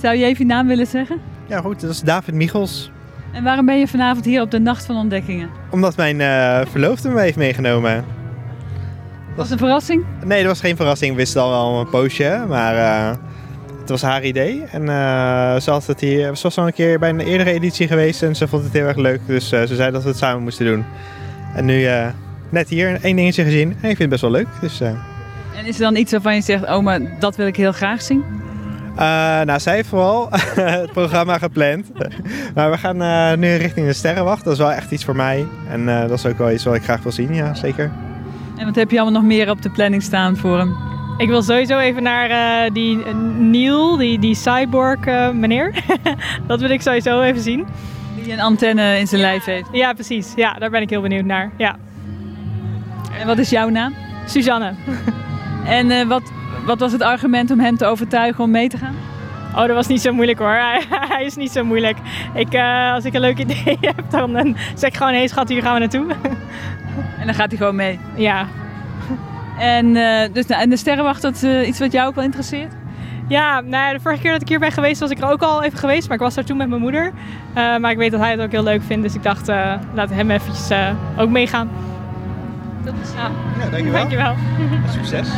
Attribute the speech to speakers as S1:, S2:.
S1: Zou je even je naam willen zeggen?
S2: Ja, goed, dat is David Michels.
S1: En waarom ben je vanavond hier op de Nacht van Ontdekkingen?
S2: Omdat mijn eh, verloofde me heeft meegenomen.
S1: Was het een verrassing?
S2: Nee, dat was geen verrassing. We wisten al wel een poosje, hè, maar eh, het was haar idee. En eh, ze, had het hier, ze was al een keer bij een eerdere editie geweest en ze vond het heel erg leuk. Dus eh, ze zei dat we het samen moesten doen. En nu eh, net hier één dingetje gezien en ik vind het best wel leuk. Dus, eh,
S1: En is er dan iets waarvan je zegt, oh, maar dat wil ik heel graag zien?
S2: eh, nou, zij heeft vooral het programma gepland. maar we gaan eh, nu richting de Sterrenwacht. Dat is wel echt iets voor mij. En eh, dat is ook wel iets wat ik graag wil zien, ja, zeker.
S1: En wat heb je allemaal nog meer op de planning staan voor hem?
S3: Ik wil sowieso even naar eh, die eh, Neil, die, die cyborg eh, meneer. dat wil ik sowieso even zien.
S1: Die een antenne in zijn lijf heeft.
S3: Ja, precies. Ja, daar ben ik heel benieuwd naar. Ja.
S1: En wat is jouw naam?
S3: Suzanne.
S1: En eh, wat, wat was het argument om hem te overtuigen om mee te gaan?
S3: Oh, dat was niet zo moeilijk hoor. Hij, hij is niet zo moeilijk. Ik, eh, als ik een leuk idee heb, dan eh, zeg ik gewoon, hé hey, schat, hier gaan we naartoe.
S1: En dan gaat hij gewoon mee.
S3: ja.
S1: En, eh, dus, nou, en de sterrenwacht, dat is eh, iets wat jou ook wel interesseert?
S3: Ja, nou ja, de vorige keer dat ik hier ben geweest, was ik er ook al even geweest. Maar ik was daar toen met mijn moeder. Eh, maar ik weet dat hij het ook heel leuk vindt. Dus ik dacht, eh, laat hem eventjes eh, ook meegaan. Dat is... Ja,
S2: Ja,
S3: dankjewel.
S2: Succes.